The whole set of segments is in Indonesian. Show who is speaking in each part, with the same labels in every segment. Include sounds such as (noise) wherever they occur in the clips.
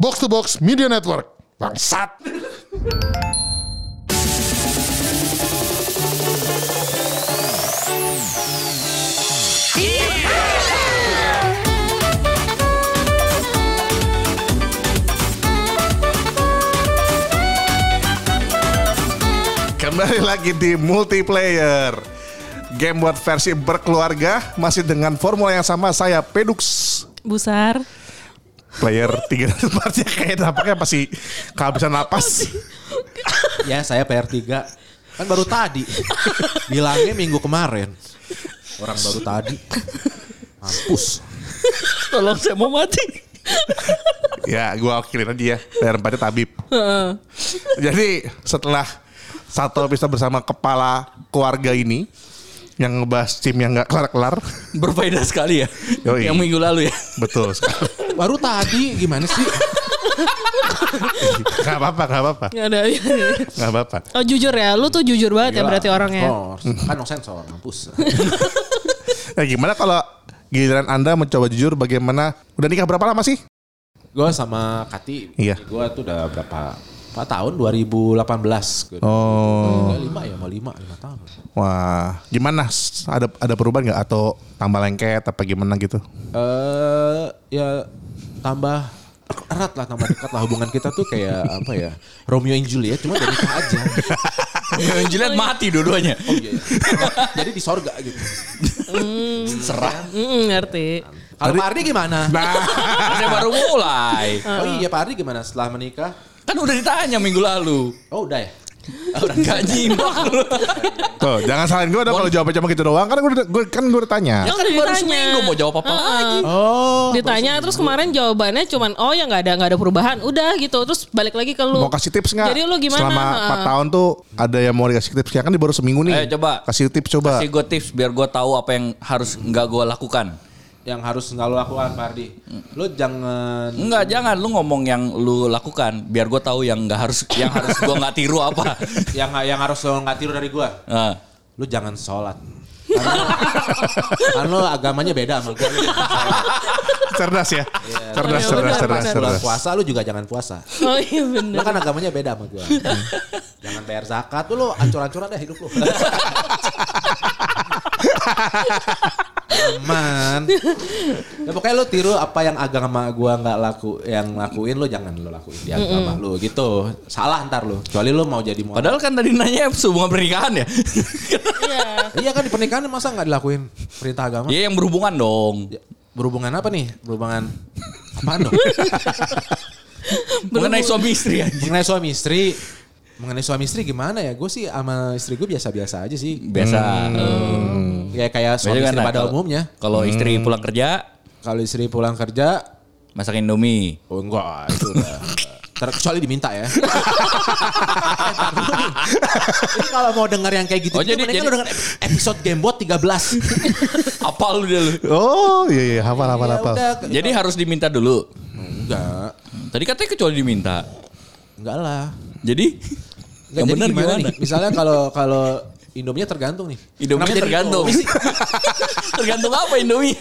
Speaker 1: Box to Box Media Network. Bangsat.
Speaker 2: Kembali lagi di multiplayer. Game buat versi berkeluarga masih dengan formula yang sama saya Pedux
Speaker 3: Busar.
Speaker 2: player 304 ya kayak nampaknya masih kehabisan napas.
Speaker 4: Ya saya PR3 Kan baru tadi Bilangnya minggu kemarin Orang baru tadi Mampus
Speaker 3: Tolong saya mau mati.
Speaker 2: ya, gua akhirin aja ya. Player 4 Tabib. Jadi setelah satu bisa bersama kepala keluarga ini yang ngebahas tim yang nggak kelar-kelar. (laughs)
Speaker 5: Berbeda sekali ya.
Speaker 2: Yoi.
Speaker 5: Yang minggu lalu ya.
Speaker 2: Betul sekali.
Speaker 4: Baru tadi gimana
Speaker 3: (laughs)
Speaker 4: sih
Speaker 2: Gak apa-apa, gak apa-apa.
Speaker 3: Nggak ada. iya,
Speaker 2: Gak apa-apa.
Speaker 3: Oh jujur ya, lu tuh jujur banget ya berarti orangnya.
Speaker 4: Sensor. Kan no sensor Mampus
Speaker 2: Nah, gimana kalau giliran Anda mencoba jujur bagaimana udah nikah berapa lama sih?
Speaker 4: Gue sama Kati
Speaker 2: Iya.
Speaker 4: Gue tuh udah berapa 4 tahun 2018 Gua-
Speaker 2: Oh,
Speaker 4: Udah lima ya mau lima lima tahun
Speaker 2: wah, gimana? S- Ada ada perubahan nggak atau tambah lengket apa gimana gitu?
Speaker 4: Eh ya tambah erat lah tambah dekat lah hubungan kita tuh kayak apa ya Romeo and Juliet cuma dari nikah
Speaker 2: (laughs)
Speaker 4: aja
Speaker 5: Yang jelas mati dua-duanya.
Speaker 4: oh iya, iya. jadi di sorga gitu
Speaker 5: Serah.
Speaker 3: Mm, ngerti.
Speaker 4: kalau Pak Ardi gimana
Speaker 5: Saya baru mulai.
Speaker 4: oh iya Pak Ardi gimana setelah menikah
Speaker 5: Kan udah ditanya minggu lalu.
Speaker 4: oh udah ya
Speaker 5: Orang gak nyimak lu.
Speaker 2: Tuh, jangan salahin gue dong kalau jawabnya cuma gitu doang. Karena gue gue kan gue udah tanya.
Speaker 5: Ya kan
Speaker 3: Kan
Speaker 5: baru
Speaker 3: ditanya.
Speaker 5: seminggu mau jawab apa lagi.
Speaker 4: oh
Speaker 3: Ditanya terus kemarin jawabannya cuman oh ya nggak ada nggak ada perubahan, udah gitu. Terus balik lagi ke lu.
Speaker 2: Mau kasih tips nggak?
Speaker 3: Jadi lu gimana?
Speaker 2: Selama
Speaker 3: Ha.
Speaker 2: 4 tahun tuh ada yang mau dikasih tips ya kan dia baru seminggu nih.
Speaker 5: Ayo, coba.
Speaker 2: Kasih tips coba.
Speaker 5: Kasih gue tips biar gue tahu apa yang harus nggak gue lakukan.
Speaker 4: yang harus nggak lo lakukan Pak Ardi lo jangan
Speaker 5: Enggak, jangan lu ngomong yang lu lakukan biar gue tahu yang nggak harus yang harus gue nggak tiru apa.
Speaker 4: yang yang harus lo nggak tiru dari gua
Speaker 5: Nah,
Speaker 4: lu jangan sholat karena, karena lo agamanya beda sama gue.
Speaker 2: (laughs) Cerdas ya.
Speaker 5: Iya.
Speaker 2: Cerdas, cerdas,
Speaker 3: Ya udah,
Speaker 2: cerdas,
Speaker 3: Pak.
Speaker 4: Bulan
Speaker 2: cerdas.
Speaker 4: puasa lu juga jangan puasa.
Speaker 3: (laughs) Oh iya
Speaker 4: Lo
Speaker 3: bener.
Speaker 4: kan agamanya beda sama (laughs) gue. jangan bayar zakat, tuh lo ancur-ancuran deh hidup lo. (laughs) Aman. Ya pokoknya lo tiru apa yang agama gua nggak laku, yang lakuin lo jangan lo lakuin di agama lo gitu. Salah ntar lo. Kecuali lo mau jadi mualaf.
Speaker 5: padahal kan tadi nanya hubungan pernikahan ya.
Speaker 3: Iya.
Speaker 4: Iya kan di pernikahan masa nggak dilakuin perintah agama?
Speaker 5: Iya yang berhubungan dong.
Speaker 4: Ya, Berhubungan apa nih? (laughs) Berhubungan apaan dong?
Speaker 5: Mengenai suami istri aja.
Speaker 4: mengenai suami istri mengenai suami istri gimana ya gue sih sama istri gue biasa-biasa aja sih
Speaker 5: Biasa.
Speaker 4: kayak kayak suami
Speaker 5: Biasa
Speaker 4: istri
Speaker 5: kan,
Speaker 4: pada
Speaker 5: kalau-
Speaker 4: umumnya Hmm.
Speaker 5: Kalau istri pulang kerja
Speaker 4: kalau istri pulang kerja
Speaker 5: masak Indomie.
Speaker 4: oh enggak itu udah terkecuali diminta ya ini kalau mau dengar yang kayak gitu
Speaker 5: Oh, jadi-
Speaker 4: mendingan
Speaker 5: jadi-
Speaker 4: lu denger ep- episode Gamebot 13
Speaker 5: (laughs) Apa lu dia lu?
Speaker 2: Oh, iya iya, hafal hafal
Speaker 4: Ya
Speaker 2: hafal.
Speaker 4: udah
Speaker 5: Jadi harus diminta dulu.
Speaker 4: enggak
Speaker 5: Tadi katanya kecuali diminta.
Speaker 4: enggak lah
Speaker 5: Jadi
Speaker 4: Enggak,
Speaker 5: yang
Speaker 4: jadi
Speaker 5: benar gimana?
Speaker 4: nih? misalnya kalau kalau Indominya tergantung nih
Speaker 5: Indomie
Speaker 4: Kenapa jadi
Speaker 5: tergantung.
Speaker 4: Indomie sih?
Speaker 5: (laughs) tergantung apa Indomie?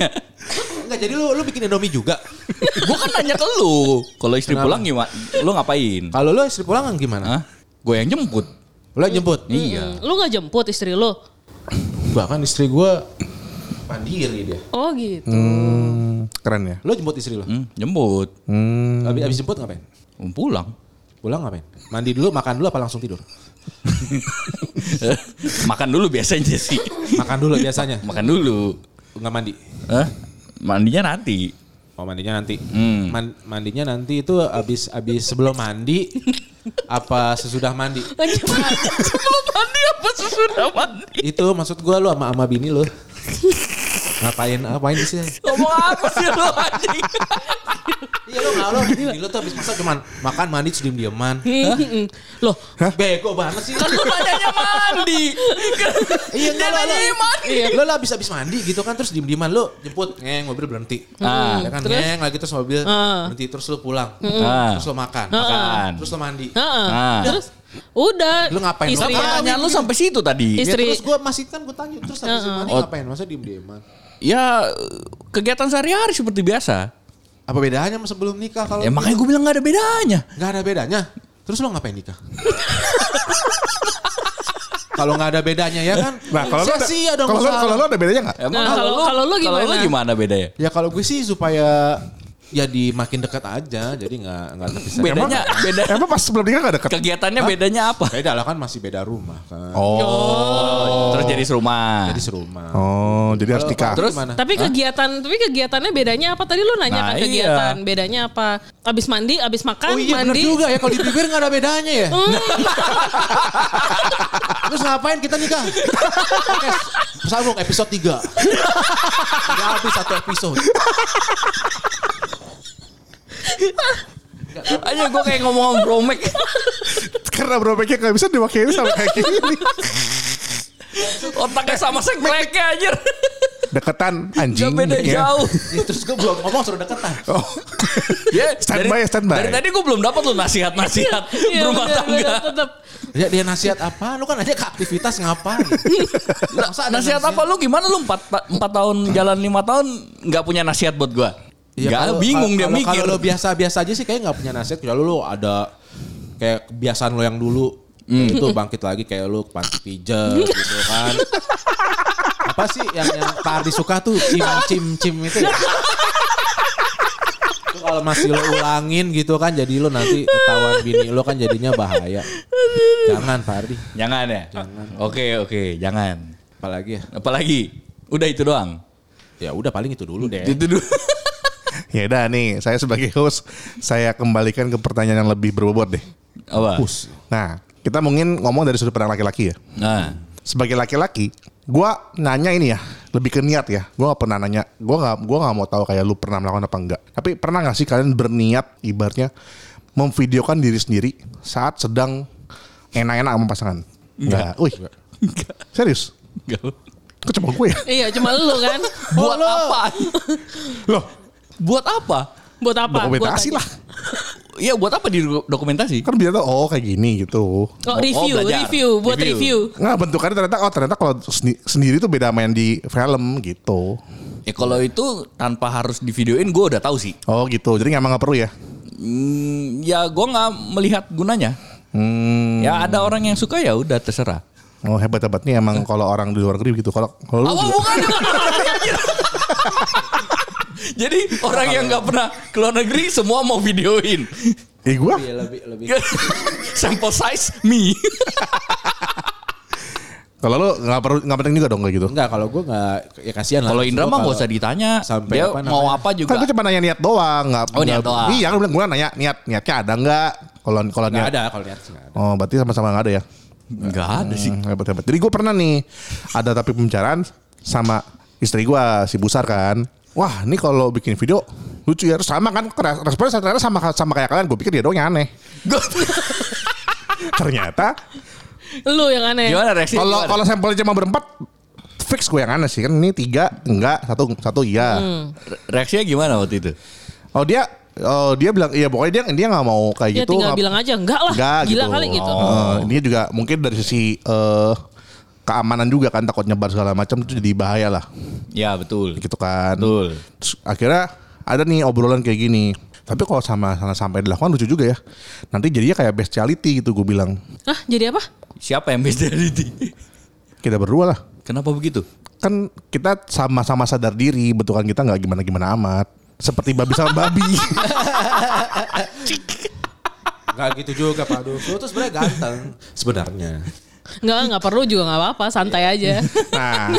Speaker 4: Enggak jadi lu lu bikin Indomie juga
Speaker 5: Gua kan nanya ke lu. Kalau istri
Speaker 4: Kenapa?
Speaker 5: pulang gimana? Lu ngapain?
Speaker 4: kalau lu istri pulang gimana
Speaker 5: Hah? Gue yang jemput.
Speaker 4: lu jemput
Speaker 5: Iya.
Speaker 3: Lu nggak jemput istri lu?
Speaker 4: Bahkan istri gue mandiri dia.
Speaker 3: Oh gitu. (laughs)
Speaker 2: Hmm, keren ya.
Speaker 4: Lo jemput istri lo?
Speaker 5: Hmm, jemput.
Speaker 2: Hmm,
Speaker 4: Abis, abis jemput ngapain?
Speaker 5: Hmm, Pulang. (laughs)
Speaker 4: Pulang ngapain? Mandi dulu, makan dulu apa langsung tidur?
Speaker 5: Makan dulu biasanya sih.
Speaker 4: Makan dulu
Speaker 5: (laughs)
Speaker 4: biasanya.
Speaker 5: Makan dulu.
Speaker 4: Nggak mandi.
Speaker 5: Hah? Mandinya nanti.
Speaker 4: Oh mandinya nanti.
Speaker 5: Hmm.
Speaker 4: Man- mandinya nanti itu abis abis sebelum mandi apa sesudah mandi?
Speaker 5: Sebelum mandi apa sesudah mandi?
Speaker 4: Itu maksud gue lo sama sama bini lo. Ngapain ngapain sih?
Speaker 5: Ngomong apa sih lu anjing?
Speaker 4: Iya lo nggak lo bini lo tuh abis masak cuman makan mandi terus diem dieman.
Speaker 3: Hmm, Loh,
Speaker 4: Bego banget sih.
Speaker 5: Kan lu nanyanya mandi.
Speaker 4: Iya
Speaker 5: Dia
Speaker 4: enggak lo lo.
Speaker 5: nanyanya mandi.
Speaker 4: Iya, lo lah abis-abis mandi gitu kan terus diem-dieman lo jemput ngeng mobil berhenti.
Speaker 5: Ah.
Speaker 4: ya kan
Speaker 3: Hmm, terus?
Speaker 4: ngeng lagi terus mobil
Speaker 3: Ah. Hmm.
Speaker 4: berhenti terus lo pulang.
Speaker 5: Ah.
Speaker 4: Terus lo makan.
Speaker 5: Makan.
Speaker 4: Terus lo mandi.
Speaker 3: Heeh.
Speaker 5: Ah.
Speaker 3: Terus udah.
Speaker 4: Lu ngapain? Lu
Speaker 3: Istri
Speaker 4: ngapain?
Speaker 5: Pertanyaan lu sampai situ
Speaker 3: Is-
Speaker 4: Ya,
Speaker 5: tadi.
Speaker 3: Istri- Ah,
Speaker 4: terus gue masih kan gue tanya terus habis mandi
Speaker 5: Oh.
Speaker 4: ngapain? Masa diem-dieman?
Speaker 5: Ya kegiatan sehari-hari seperti biasa.
Speaker 4: Apa bedanya sama sebelum nikah kalau
Speaker 5: Ya makanya gue bilang nggak ada bedanya.
Speaker 4: nggak ada bedanya? Terus lo ngapain nikah? (laughs) kalau nggak ada bedanya ya kan?
Speaker 2: Nah, kalau lu ada,
Speaker 4: sia-sia dong
Speaker 2: kalau lu,
Speaker 4: usaha
Speaker 2: kalau
Speaker 4: lo.
Speaker 2: lu ada bedanya nggak?
Speaker 5: Emang
Speaker 3: Nah, kalau- kalau lu
Speaker 5: Kalau lu
Speaker 3: gimana?
Speaker 5: gimana bedanya?
Speaker 4: Ya kalau gue sih supaya jadi makin dekat aja, jadi nggak nggak terpisah.
Speaker 5: Bedanya beda
Speaker 2: Emang pas sebelum nikah nggak deket?
Speaker 5: kegiatannya bedanya apa?
Speaker 4: Beda lah kan masih beda rumah kan.
Speaker 5: Terus Oh. jadi serumah.
Speaker 4: Jadi serumah.
Speaker 2: Oh, jadi harus nikah.
Speaker 5: Terus
Speaker 4: Gimana?
Speaker 3: Tapi kegiatan, tapi kegiatannya bedanya apa? Tadi lu nanya kan
Speaker 5: Nah, iya.
Speaker 3: kegiatan bedanya apa? Abis mandi, abis makan,
Speaker 4: oh iya bener
Speaker 3: kan mandi. (laughs) Oh, iya.
Speaker 4: juga ya kalau dipikir nggak ada bedanya ya. Terus ngapain kita nikah? Oke, Sambung episode 3. Gak habis satu episode.
Speaker 5: aja gue kayak ngomong bromek.
Speaker 2: Karena berobeknya nggak bisa diwakili sama kayak
Speaker 5: (laughs)
Speaker 2: gini.
Speaker 5: Otaknya sama sekleknya aja.
Speaker 2: Deketan anjing.
Speaker 5: Gak beda
Speaker 2: ya.
Speaker 5: (laughs) jauh.
Speaker 4: Ya, terus gue belum ngomong suruh deketan.
Speaker 2: Oh, (laughs)
Speaker 5: Ya,
Speaker 2: Standby ya, standby.
Speaker 5: Dari tadi gue belum dapat lo nasihat-nasihat
Speaker 3: (laughs) Iya,
Speaker 5: berumah
Speaker 3: bener,
Speaker 5: tangga.
Speaker 3: bener, tetep.
Speaker 4: Ya dia nasihat apa? Lu kan aja ke aktivitas ngapain?
Speaker 5: Lah,
Speaker 4: Masa ada
Speaker 5: nasihat apa lu gimana lu 4, empat tahun jalan 5 tahun nggak punya nasihat buat gua?
Speaker 4: Ya,
Speaker 5: Nggak,
Speaker 4: kalau-
Speaker 5: bingung dia
Speaker 4: kalau-
Speaker 5: mikir.
Speaker 4: Kalau lo biasa-biasa aja sih kayak nggak punya nasihat. Kalau lo ada kayak kebiasaan lo yang dulu
Speaker 5: Hmm.
Speaker 4: itu bangkit lagi kayak lo ke panti pijat gitu
Speaker 5: (laughs)
Speaker 4: kan. Apa sih yang yang Pardi suka tuh cim cim cim itu ya? Itu kalau masih lo ulangin gitu kan jadi lo nanti ketahuan bini lo kan jadinya bahaya. Jangan Pardi.
Speaker 5: Jangan ya. Oke oke, jangan.
Speaker 4: Apalagi ya?
Speaker 5: Apalagi udah itu doang.
Speaker 4: Ya udah paling itu dulu deh.
Speaker 5: Itu dulu.
Speaker 2: ya udah nih, saya sebagai host, saya kembalikan ke pertanyaan yang lebih berbobot deh.
Speaker 5: Apa?
Speaker 4: Pus.
Speaker 2: Nah, kita mungkin ngomong dari sudut pandang laki-laki ya.
Speaker 5: Nah,
Speaker 2: Sebagai laki-laki, gua nanya ini ya, lebih ke niat ya. Gua gak pernah nanya, gua gak, gua gak mau tahu kayak lu pernah melakukan apa enggak. Tapi pernah gak sih kalian berniat ibaratnya memvideokan diri sendiri saat sedang enak-enak sama pasangan? Enggak. Wih. Serius?
Speaker 5: nggak.
Speaker 2: Kok cuma gue ya?
Speaker 3: Iya, cuma lu kan.
Speaker 5: buat apa?
Speaker 2: Loh,
Speaker 5: buat apa?
Speaker 3: Buat apa?
Speaker 2: dokumentasi
Speaker 3: Buat-
Speaker 2: lah.
Speaker 5: Iya buat apa di dokumentasi?
Speaker 2: Kan biar tahu oh kayak gini gitu.
Speaker 3: Oh,
Speaker 5: Oh,
Speaker 3: review,
Speaker 5: belajar.
Speaker 3: review, buat
Speaker 5: Review.
Speaker 3: review.
Speaker 2: Nggak bentukannya ternyata oh ternyata kalau sendi- sendiri tuh beda main di film gitu.
Speaker 5: Ya kalau itu tanpa harus divideoin gue udah tahu sih.
Speaker 2: Oh gitu. Jadi emang nggak perlu ya?
Speaker 5: Hmm, ya gue nggak melihat gunanya.
Speaker 2: Hmm.
Speaker 5: Ya ada orang yang suka ya udah terserah.
Speaker 2: Oh hebat hebat nih emang
Speaker 5: Eh.
Speaker 2: kalau orang di luar negeri gitu. Kalau kalau lu
Speaker 5: Oh,
Speaker 2: gimana?
Speaker 5: bukan. Jadi orang yang nggak pernah keluar negeri semua mau videoin. (laughs)
Speaker 2: eh gua
Speaker 4: Iya lebih lebih.
Speaker 5: Sample size me.
Speaker 2: kalau lu nggak perlu nggak penting juga dong kayak gitu.
Speaker 4: Enggak kalau gue nggak ya kasihan lah.
Speaker 5: Kalau Indra mah nggak usah
Speaker 4: Kalau-
Speaker 5: ditanya.
Speaker 4: Sampai
Speaker 5: Dia
Speaker 4: apa
Speaker 5: mau
Speaker 4: namanya?
Speaker 5: apa
Speaker 2: Kan
Speaker 5: juga.
Speaker 2: gua cuma nanya niat doang, nggak.
Speaker 5: Oh, niat
Speaker 2: nggak-
Speaker 5: doang.
Speaker 2: Iya, kan bilang gua nanya niat, niatnya ada nggak? Kalau kalau
Speaker 4: Nggak
Speaker 2: niat.
Speaker 4: ada kalau lihat sih nggak ada.
Speaker 2: Oh, berarti sama-sama nggak ada ya?
Speaker 5: Nggak ada sih.
Speaker 2: Hmm, hebat hebat. Jadi gue pernah nih ada tapi pembicaraan sama istri gue si Busar kan. Wah ini kalau bikin video lucu ya harus sama kan Res- responnya ternyata sama sama kayak kalian gue pikir dia doang yang aneh ternyata
Speaker 3: Lu yang aneh.
Speaker 5: Gimana reaksi?
Speaker 2: kalau
Speaker 5: gimana?
Speaker 2: kalau sampelnya cuma berempat fix gue yang aneh sih kan ini tiga enggak satu satu iya
Speaker 3: Hmm.
Speaker 5: reaksinya gimana waktu itu?
Speaker 2: oh dia oh dia bilang iya pokoknya dia dia nggak mau kayak
Speaker 3: Ya
Speaker 2: gitu
Speaker 3: tinggal
Speaker 2: nggak-
Speaker 3: bilang aja, enggak lah.
Speaker 2: Enggak
Speaker 3: Gila
Speaker 2: gitu.
Speaker 3: kali gitu.
Speaker 2: Eh, dia juga mungkin dari sisi eh, keamanan juga kan takut nyebar segala macam itu jadi bahaya lah
Speaker 5: Ya betul.
Speaker 2: gitu kan.
Speaker 5: Betul.
Speaker 2: Terus akhirnya ada nih obrolan kayak gini. Tapi kalau sama sama sampai dilakukan lucu juga ya. Nanti jadinya kayak bestiality gitu gue bilang.
Speaker 3: Hah, jadi apa?
Speaker 5: Siapa yang bestiality? (laughs)
Speaker 2: Kita berdua lah.
Speaker 5: Kenapa begitu?
Speaker 2: Kan kita sama-sama sadar diri bentukan kita nggak gimana-gimana amat. Seperti babi sama babi.
Speaker 5: (laughs)
Speaker 4: Gak gitu juga Pak Duf. Lu tuh sebenarnya ganteng sebenarnya.
Speaker 3: Enggak, enggak perlu juga enggak apa-apa, santai aja.
Speaker 2: nah,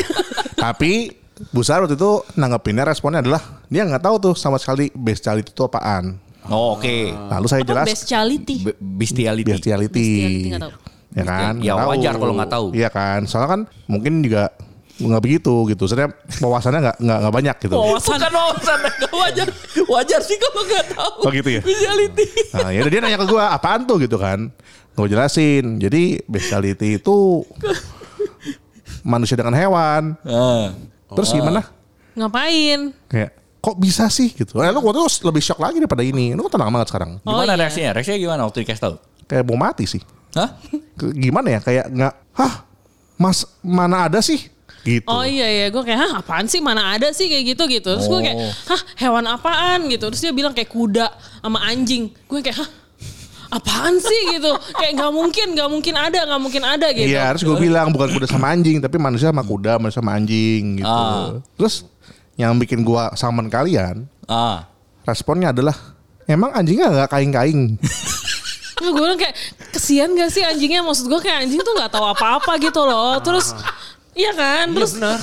Speaker 2: tapi Bu Sar waktu itu nanggepinnya responnya adalah dia nggak tahu tuh sama sekali bestiality itu apaan.
Speaker 5: Oh, oke.
Speaker 2: Lalu saya
Speaker 3: Apa
Speaker 2: jelas
Speaker 3: bestiality?
Speaker 5: Be- Bestiality.
Speaker 2: bestiality.
Speaker 3: Bestiality nggak tahu.
Speaker 2: Ya kan?
Speaker 5: Ya,
Speaker 2: nggak
Speaker 5: wajar kalau nggak tahu.
Speaker 2: Iya kan? Soalnya kan mungkin juga nggak begitu gitu. Sebenarnya wawasannya nggak nggak nggak banyak gitu.
Speaker 5: Wawasan. Bukan wawasan. Nggak
Speaker 3: (laughs)
Speaker 5: wajar. Wajar sih kalau nggak tahu.
Speaker 2: Oh, gitu ya?
Speaker 5: Bestiality.
Speaker 2: Nah, ya udah dia nanya ke gua apaan tuh gitu kan? Gue jelasin. Jadi bestiality
Speaker 5: (laughs)
Speaker 2: itu manusia dengan hewan.
Speaker 5: Ah.
Speaker 2: Terus
Speaker 3: Oh.
Speaker 2: gimana?
Speaker 3: Ngapain?
Speaker 2: Kayak kok bisa sih gitu. Eh, lu waktu itu lebih shock lagi daripada ini. Lu tenang banget sekarang.
Speaker 3: Oh,
Speaker 5: Gimana
Speaker 3: iya.
Speaker 5: reaksinya? Reaksinya gimana waktu dikasih tahu?
Speaker 2: Kayak mau mati sih.
Speaker 5: Hah?
Speaker 2: Ke- Gimana ya? Kayak nggak. Hah? Mas mana ada sih? Gitu.
Speaker 3: Oh iya ya, gue kayak hah apaan sih mana ada sih kayak gitu gitu. Terus gue kayak hah hewan apaan gitu. Terus dia bilang kayak kuda sama anjing. Gue kayak hah apaan sih gitu. Kayak nggak mungkin, nggak mungkin ada, nggak mungkin ada gitu.
Speaker 2: Iya, terus gue bilang bukan kuda sama anjing, tapi manusia sama kuda, manusia sama anjing gitu.
Speaker 5: Ah.
Speaker 2: Terus yang bikin gua saman kalian,
Speaker 5: Ah.
Speaker 2: responnya adalah emang anjingnya nggak
Speaker 3: (laughs)
Speaker 2: kaing-kaing.
Speaker 3: Terus gue bilang kayak kesian gak sih anjingnya? Maksud gue kayak anjing tuh nggak tahu apa-apa gitu loh. Terus iya kan? Terus
Speaker 4: benar.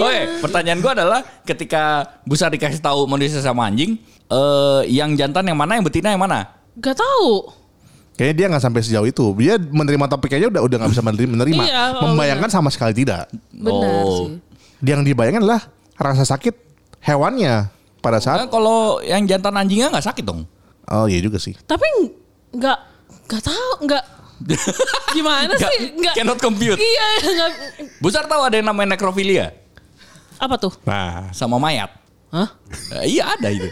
Speaker 5: Oh
Speaker 3: (laughs)
Speaker 5: iya, pertanyaan gua adalah ketika Busa dikasih tahu manusia sama anjing, eh yang jantan yang mana, yang betina yang mana?
Speaker 3: nggak tahu.
Speaker 2: Kayaknya dia nggak sampai sejauh itu. Dia menerima topik aja udah udah nggak bisa menerima. menerima.
Speaker 3: Iya, oh,
Speaker 2: Membayangkan sama sekali tidak.
Speaker 3: Benar
Speaker 5: Oh.
Speaker 3: sih.
Speaker 2: Yang dibayangkan adalah rasa sakit hewannya pada
Speaker 5: Nah,
Speaker 2: saat.
Speaker 5: kalau yang jantan anjingnya nggak sakit dong.
Speaker 2: Oh iya juga sih.
Speaker 3: Tapi nggak nggak tahu nggak gimana
Speaker 5: Nggak-
Speaker 3: sih? Nggak
Speaker 5: cannot compute.
Speaker 3: Iya nggak
Speaker 5: Busar tahu ada yang namanya nekrofilia
Speaker 3: apa tuh?
Speaker 2: Nah,
Speaker 5: sama
Speaker 3: (laughs)
Speaker 5: mayat.
Speaker 3: Hah?
Speaker 5: Eh, iya ada itu.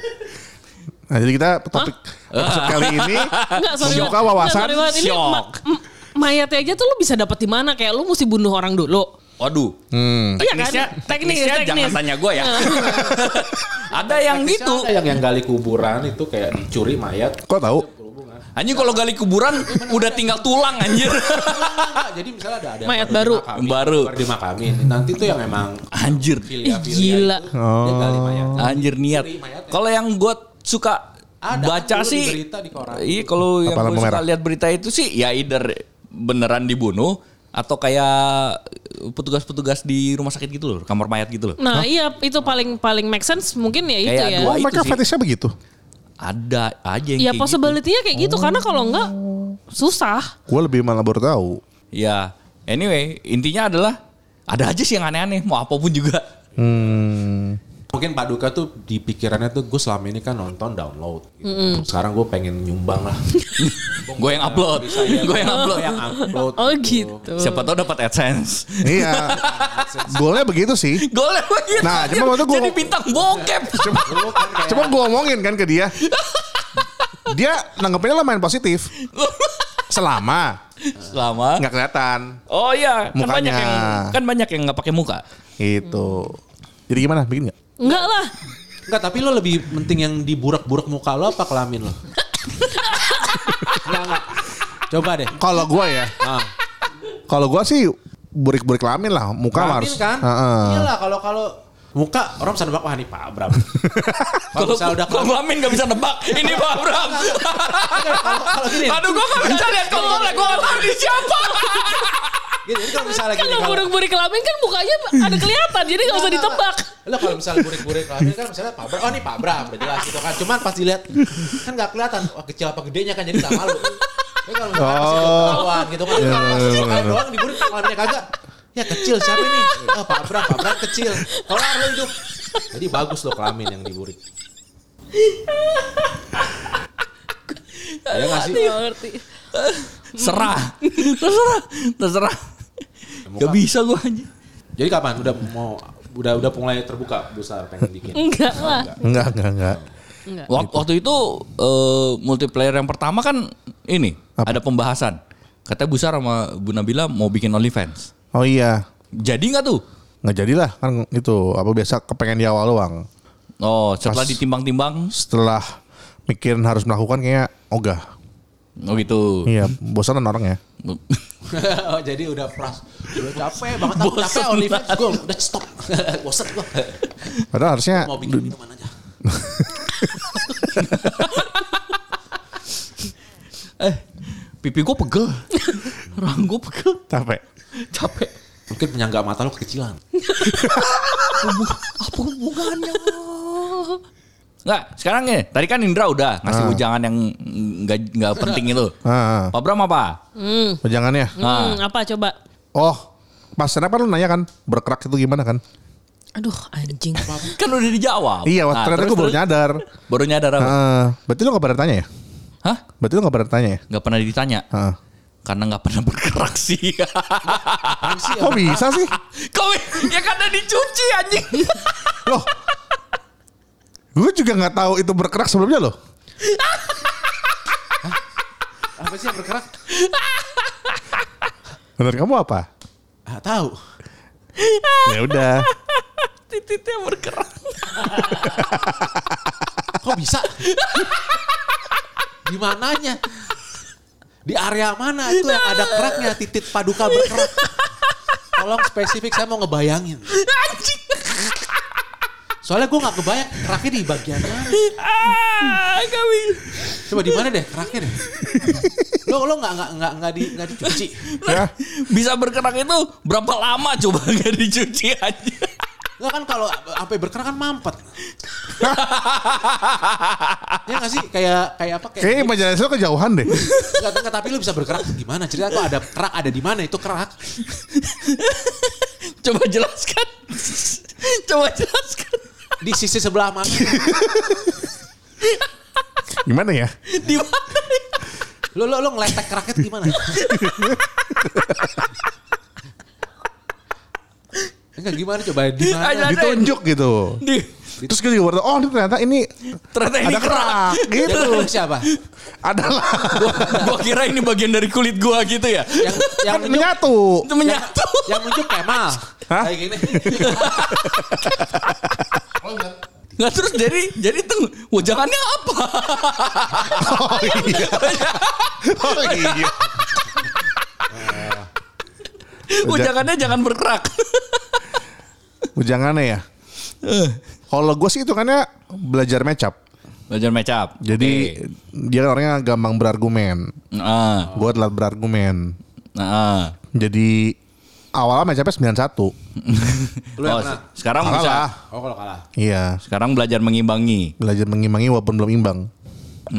Speaker 2: nah jadi kita topik episode
Speaker 4: (laughs)
Speaker 2: kali ini
Speaker 3: Enggak, sorry
Speaker 2: membuka
Speaker 3: banget.
Speaker 2: wawasan.
Speaker 3: Enggak, sorry banget. Ini
Speaker 5: Syok.
Speaker 3: ma- m- mayatnya aja tuh lu bisa dapat di mana? Kayak lu mesti bunuh orang dulu.
Speaker 5: Waduh.
Speaker 3: Iya kan?
Speaker 5: Hmm. Teknisnya,
Speaker 3: Teknis,
Speaker 5: teknisnya jangan
Speaker 3: teknis.
Speaker 5: tanya
Speaker 3: (laughs)
Speaker 5: gue ya. ada yang
Speaker 4: Itu
Speaker 5: gitu.
Speaker 4: yang yang gali kuburan itu kayak dicuri mayat.
Speaker 2: Kok tahu?
Speaker 5: Anjing kalau gali kuburan udah tinggal tulang anjir. (laughs)
Speaker 4: Enggak, jadi misalnya ada ada yang
Speaker 3: Mayat
Speaker 4: baru
Speaker 3: baru.
Speaker 4: dimakamin,
Speaker 5: Baru.
Speaker 4: baru dimakamin. Nanti tuh yang emang
Speaker 5: Anjir.
Speaker 4: filia-filia
Speaker 3: gila.
Speaker 4: itu, dia gali mayat.
Speaker 5: Anjir niat. Kalau yang gue suka
Speaker 4: Ada,
Speaker 5: baca
Speaker 4: dulu di
Speaker 5: sih.
Speaker 4: berita di koran.
Speaker 5: Iya kalau yang
Speaker 2: Apa
Speaker 5: gue
Speaker 2: lampu
Speaker 5: suka
Speaker 2: merah?
Speaker 5: lihat berita itu sih ya either beneran dibunuh atau kayak petugas-petugas di rumah sakit gitu loh, kamar mayat gitu loh.
Speaker 3: Nah iya itu paling paling make sense mungkin ya itu
Speaker 5: Kayak
Speaker 3: ya.
Speaker 2: Oh,
Speaker 5: dua- itu
Speaker 2: mereka
Speaker 5: sih.
Speaker 2: fetishnya begitu.
Speaker 5: Ada aja yang
Speaker 3: Ya
Speaker 5: kayak gitu.
Speaker 3: possibility-nya kayak gitu. Karena kalau enggak susah.
Speaker 2: Gue lebih malah baru tahu.
Speaker 5: Ya, anyway, intinya adalah ada aja sih yang aneh-aneh, mau apapun juga.
Speaker 2: Hmm.
Speaker 4: Mungkin Pak Duka tuh di pikirannya tuh gue selama ini kan nonton download. gitu. Sekarang gue pengen nyumbang
Speaker 3: (laughs)
Speaker 4: lah.
Speaker 5: Gue yang upload, gue yang upload.
Speaker 4: Yang upload.
Speaker 3: Oh gitu.
Speaker 5: Siapa tahu dapat AdSense. (laughs)
Speaker 4: (laughs)
Speaker 2: Iya. Golnya begitu sih.
Speaker 5: Golnya begitu.
Speaker 2: Nah,
Speaker 5: anjir.
Speaker 2: cuma waktu gua-
Speaker 5: gitu. jadi bintang bokep. (laughs)
Speaker 4: Dulu kan kayak
Speaker 2: Cuma gue ngomongin kan ke dia. Dia nanggepinnya lah main
Speaker 4: (laughs)
Speaker 2: positif. Selama
Speaker 5: Selama
Speaker 2: nggak kelihatan
Speaker 5: Oh iya, kan
Speaker 2: Mukanya.
Speaker 5: banyak yang kan banyak yang nggak pakai muka.
Speaker 2: gitu.
Speaker 4: Hmm.
Speaker 2: Jadi gimana? Bikin nggak?
Speaker 3: Enggak lah.
Speaker 4: Enggak, tapi lo lebih penting yang diburak-burak muka lo apa kelamin
Speaker 3: (laughs)
Speaker 4: lo? Enggak, enggak. Coba deh.
Speaker 2: Kalau gue ya,
Speaker 4: Ah.
Speaker 2: kalau gue sih burik-burik lamin lah, muka
Speaker 4: Kelamin
Speaker 2: harus.
Speaker 4: kan?
Speaker 2: Heeh.
Speaker 4: Iyalah kalau kalau muka orang bisa nebak wah ini Pak Abram. kalau
Speaker 5: Kalau
Speaker 4: misalnya udah
Speaker 5: kalau
Speaker 4: kelamin.
Speaker 5: kelamin nggak bisa nebak. Ini Pak
Speaker 2: (laughs)
Speaker 5: Bram.
Speaker 4: Kalau (laughs) kalau gini.
Speaker 5: Aduh, gua nggak bisa lihat kolornya. Gua nggak tahu ini siapa.
Speaker 4: Gini, jadi kalau misalnya gini
Speaker 3: Kalau
Speaker 4: kalau
Speaker 3: burik-burik kelamin kan mukanya ada kelihatan. jadi nggak usah ditebak.
Speaker 4: Lo kalau misalnya burik-burik kelamin kan misalnya Pak Abram, oh ini Pak Abram udah jelas gitu kan. Cuman pas dilihat kan nggak kelihatan wah kecil apa gedenya kan jadi nggak malu. Tapi kalau misalnya pas itu
Speaker 2: Oh.
Speaker 4: ketahuan gitu kan.
Speaker 2: Iya,
Speaker 4: Pas
Speaker 2: bener,
Speaker 4: ketahuan
Speaker 2: bener.
Speaker 4: doang diburik kelaminnya kagak. Ya kecil siapa ini? Ah Pak Abram, Pak Abram kecil. Kelar lo hidup. Jadi bagus lo kelamin yang diburik. Ya nggak sih?
Speaker 3: Nggak ngerti.
Speaker 5: Serah. (laughs) Terserah. Terserah. Gak bisa gua anjir.
Speaker 4: Jadi kapan? Udah mau udah udah mulai terbuka besar pengen bikin.
Speaker 3: Enggak lah.
Speaker 2: Enggak, enggak, enggak.
Speaker 5: Wak- Waktu itu eh, multiplayer yang pertama kan ini
Speaker 2: Apa?
Speaker 5: ada pembahasan. Katanya Busar sama Bu Nabila mau bikin OnlyFans.
Speaker 2: Oh iya,
Speaker 5: Jadi nggak tuh?
Speaker 2: nggak jadilah kan itu apa biasa kepengen di awal doang.
Speaker 5: Oh, setelah
Speaker 2: Pas-
Speaker 5: ditimbang-timbang.
Speaker 2: Setelah mikirin harus melakukan kayaknya ogah.
Speaker 5: Oh gitu.
Speaker 2: Iya, bosanan orang ya.
Speaker 4: oh, (laughs) jadi udah pras udah capek banget aku
Speaker 5: Bosen
Speaker 4: capek OnlyFans gue udah stop bosen gue
Speaker 2: Padahal harusnya
Speaker 4: mau bikin minuman aja
Speaker 5: Eh, pipi gua (laughs) pegel. Rahang gua pegel.
Speaker 2: capek.
Speaker 5: Capek.
Speaker 4: mungkin penyangga mata lo kekecilan
Speaker 5: Apa hubungannya? Nggak, sekarang nih. Tadi kan Indra udah ngasih ujangan yang nggak nggak penting itu.
Speaker 2: Ah,
Speaker 5: Pak Bram apa?
Speaker 3: Hmm.
Speaker 2: pejangannya.
Speaker 5: Ah.
Speaker 3: Hmm, apa coba?
Speaker 2: ya. Oh, pas kenapa lu nanya kan berkerak itu gimana kan?
Speaker 3: Aduh anjing.
Speaker 5: Kan udah dijawab.
Speaker 2: Iya,
Speaker 5: Nah,
Speaker 2: ternyata
Speaker 5: terus-
Speaker 2: gue baru Ah.
Speaker 5: terus- Oh.
Speaker 2: nyadar.
Speaker 5: Baru nyadar apa?
Speaker 2: Heeh. berarti lu gak pernah tanya ya?
Speaker 5: Hah?
Speaker 2: Berarti lu gak pernah tanya ya?
Speaker 5: Nggak pernah ditanya.
Speaker 2: Heeh.
Speaker 5: Karena nggak pernah (laughs) bergerak sih.
Speaker 2: Kok bisa sih?
Speaker 5: Kau ya karena dicuci (laughs) anjing.
Speaker 2: Loh, gue juga gak tahu itu berkerak sebelumnya loh.
Speaker 4: apa sih yang bergerak
Speaker 2: Menurut kamu apa?
Speaker 4: ah, tahu
Speaker 2: ya udah
Speaker 3: Tititnya bergerak.
Speaker 4: Kok bisa? Di mananya? Di area mana itu yang ada keraknya titik paduka berkerak? Tolong spesifik saya mau ngebayangin.
Speaker 3: Anjing.
Speaker 4: Soalnya gue nggak kebayang keraknya di bagian mana.
Speaker 3: Ah, kami.
Speaker 4: Coba di mana deh keraknya deh. Lo lo nggak nggak nggak nggak di nggak dicuci.
Speaker 2: ya
Speaker 5: Bisa bergerak itu berapa lama coba (laughs) nggak dicuci aja.
Speaker 4: Lo kan kalau sampai berkerak kan mampet. ya nggak sih kayak kayak apa kayak
Speaker 2: kayaknya imajinasi lo kejauhan deh
Speaker 4: Enggak, enggak, tapi lu bisa bergerak tuh gimana? Cerita kok ada kerak ada di mana itu kerak?
Speaker 5: Coba jelaskan. (laughs) Coba jelaskan.
Speaker 4: Di sisi sebelah mana?
Speaker 2: gimana ya
Speaker 5: Di mana?
Speaker 4: Lu lu, lu ngeletek keraknya tuh gimana? Enggak gimana coba di mana?
Speaker 2: ditunjuk gitu
Speaker 5: Di,
Speaker 2: terus gue juga baru tahu, oh ini ternyata ini
Speaker 5: ternyata ini
Speaker 2: ada
Speaker 5: kerak.
Speaker 2: kerak gitu
Speaker 4: Itu siapa?
Speaker 2: adalah
Speaker 5: (laughs) Gua kira ini bagian dari kulit gua gitu ya.
Speaker 4: Yang yang
Speaker 2: kan (laughs)
Speaker 4: nunjuk,
Speaker 2: menyatu
Speaker 5: Itu menyatu.
Speaker 4: yang nunjuk Kemal.
Speaker 2: Hah?
Speaker 4: Kayak gini.
Speaker 5: Nah terus jadi jadi tuh wajangannya apa?
Speaker 2: oh iya oh iya
Speaker 5: Wajangannya jangan bergerak.
Speaker 2: Bujangannya ya kalau gue sih itu karena belajar mecap
Speaker 5: Belajar mecap.
Speaker 2: jadi dia orangnya gampang berargumen
Speaker 5: Nah,
Speaker 2: gue telat berargumen
Speaker 5: nah.
Speaker 2: jadi awalnya mecapnya 91
Speaker 4: Lu yang
Speaker 5: Oh,
Speaker 4: mana?
Speaker 5: sekarang
Speaker 2: Kalah
Speaker 5: bisa.
Speaker 2: lah.
Speaker 4: Oh kalau kalah.
Speaker 2: iya
Speaker 5: Sekarang belajar mengimbangi.
Speaker 2: belajar mengimbangi walaupun belum imbang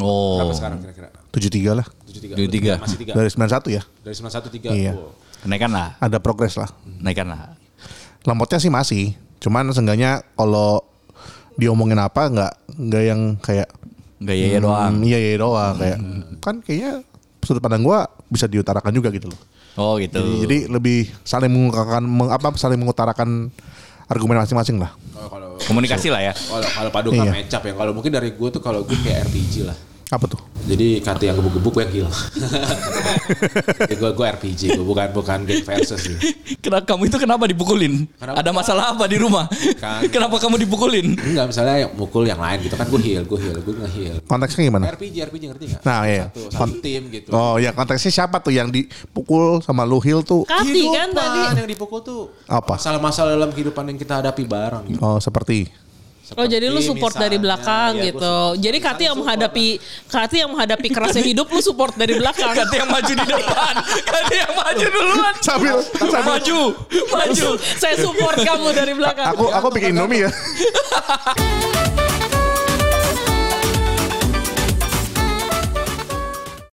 Speaker 5: Oh.
Speaker 4: Berapa sekarang kira-kira?
Speaker 2: 73 lah
Speaker 4: 73.
Speaker 5: 73.
Speaker 4: Masih 3.
Speaker 2: dari 91 ya
Speaker 4: Dari 91 3.
Speaker 2: Iya.
Speaker 5: Kenaikan lah.
Speaker 2: ada progres lah
Speaker 5: Kenaikan lah.
Speaker 2: Lamotnya sih masih, cuman seenggaknya kalau diomongin apa nggak nggak yang kayak
Speaker 5: Gak ya doang.
Speaker 2: "Hmm, iya iya doang kayak kan kayaknya sudut pandang gua bisa diutarakan juga gitu loh.
Speaker 5: Oh gitu.
Speaker 2: Jadi, jadi lebih saling mengungkapkan meng- apa saling mengutarakan argumen masing-masing lah.
Speaker 4: Oh kalau
Speaker 5: Komunikasi lah ya.
Speaker 4: kalau kalau paduka
Speaker 2: Iya.
Speaker 4: mecap ya. Kalau mungkin dari gue tuh kalau gue kayak RPG lah.
Speaker 2: Apa tuh?
Speaker 4: Jadi kata yang gebuk-gebuk gue
Speaker 2: (laughs)
Speaker 4: kill. Ya, gue gue RPG, gue bukan bukan game versus. Gitu.
Speaker 5: Kenapa kamu itu kenapa dipukulin?
Speaker 4: Kenapa?
Speaker 5: Ada masalah apa di rumah?
Speaker 4: Kan.
Speaker 5: kenapa kamu dipukulin?
Speaker 4: Enggak misalnya yang mukul yang lain gitu kan gue heal, gue heal, gue nge-heal.
Speaker 2: Konteksnya gimana?
Speaker 4: RPG, RPG ngerti nggak?
Speaker 2: Nah, iya.
Speaker 4: Satu, satu
Speaker 2: Kon-
Speaker 4: tim gitu.
Speaker 2: Oh ya konteksnya siapa tuh yang dipukul sama lu heel tuh?
Speaker 3: Kati kan
Speaker 4: Kehidupan
Speaker 3: tadi.
Speaker 4: yang dipukul tuh
Speaker 2: Apa?
Speaker 4: masalah-masalah dalam kehidupan yang kita hadapi bareng. Gitu.
Speaker 2: Oh seperti
Speaker 3: Oh jadi lu
Speaker 4: Seperti
Speaker 3: support
Speaker 4: misalnya,
Speaker 3: dari belakang
Speaker 4: ya, gua
Speaker 5: iya,
Speaker 3: gitu.
Speaker 4: support.
Speaker 3: Jadi Kati
Speaker 4: Misalnya
Speaker 3: yang
Speaker 4: support
Speaker 3: menghadapi Kati yang menghadapi kerasnya hidup lu support dari belakang.
Speaker 5: (laughs) Kati yang maju di
Speaker 3: (laughs)
Speaker 5: depan. Kati yang maju duluan.
Speaker 2: sambil sambil
Speaker 5: Maju. Maju.
Speaker 3: Saya support kamu dari belakang.
Speaker 2: aku aku bikin Indomie ya.
Speaker 6: Terima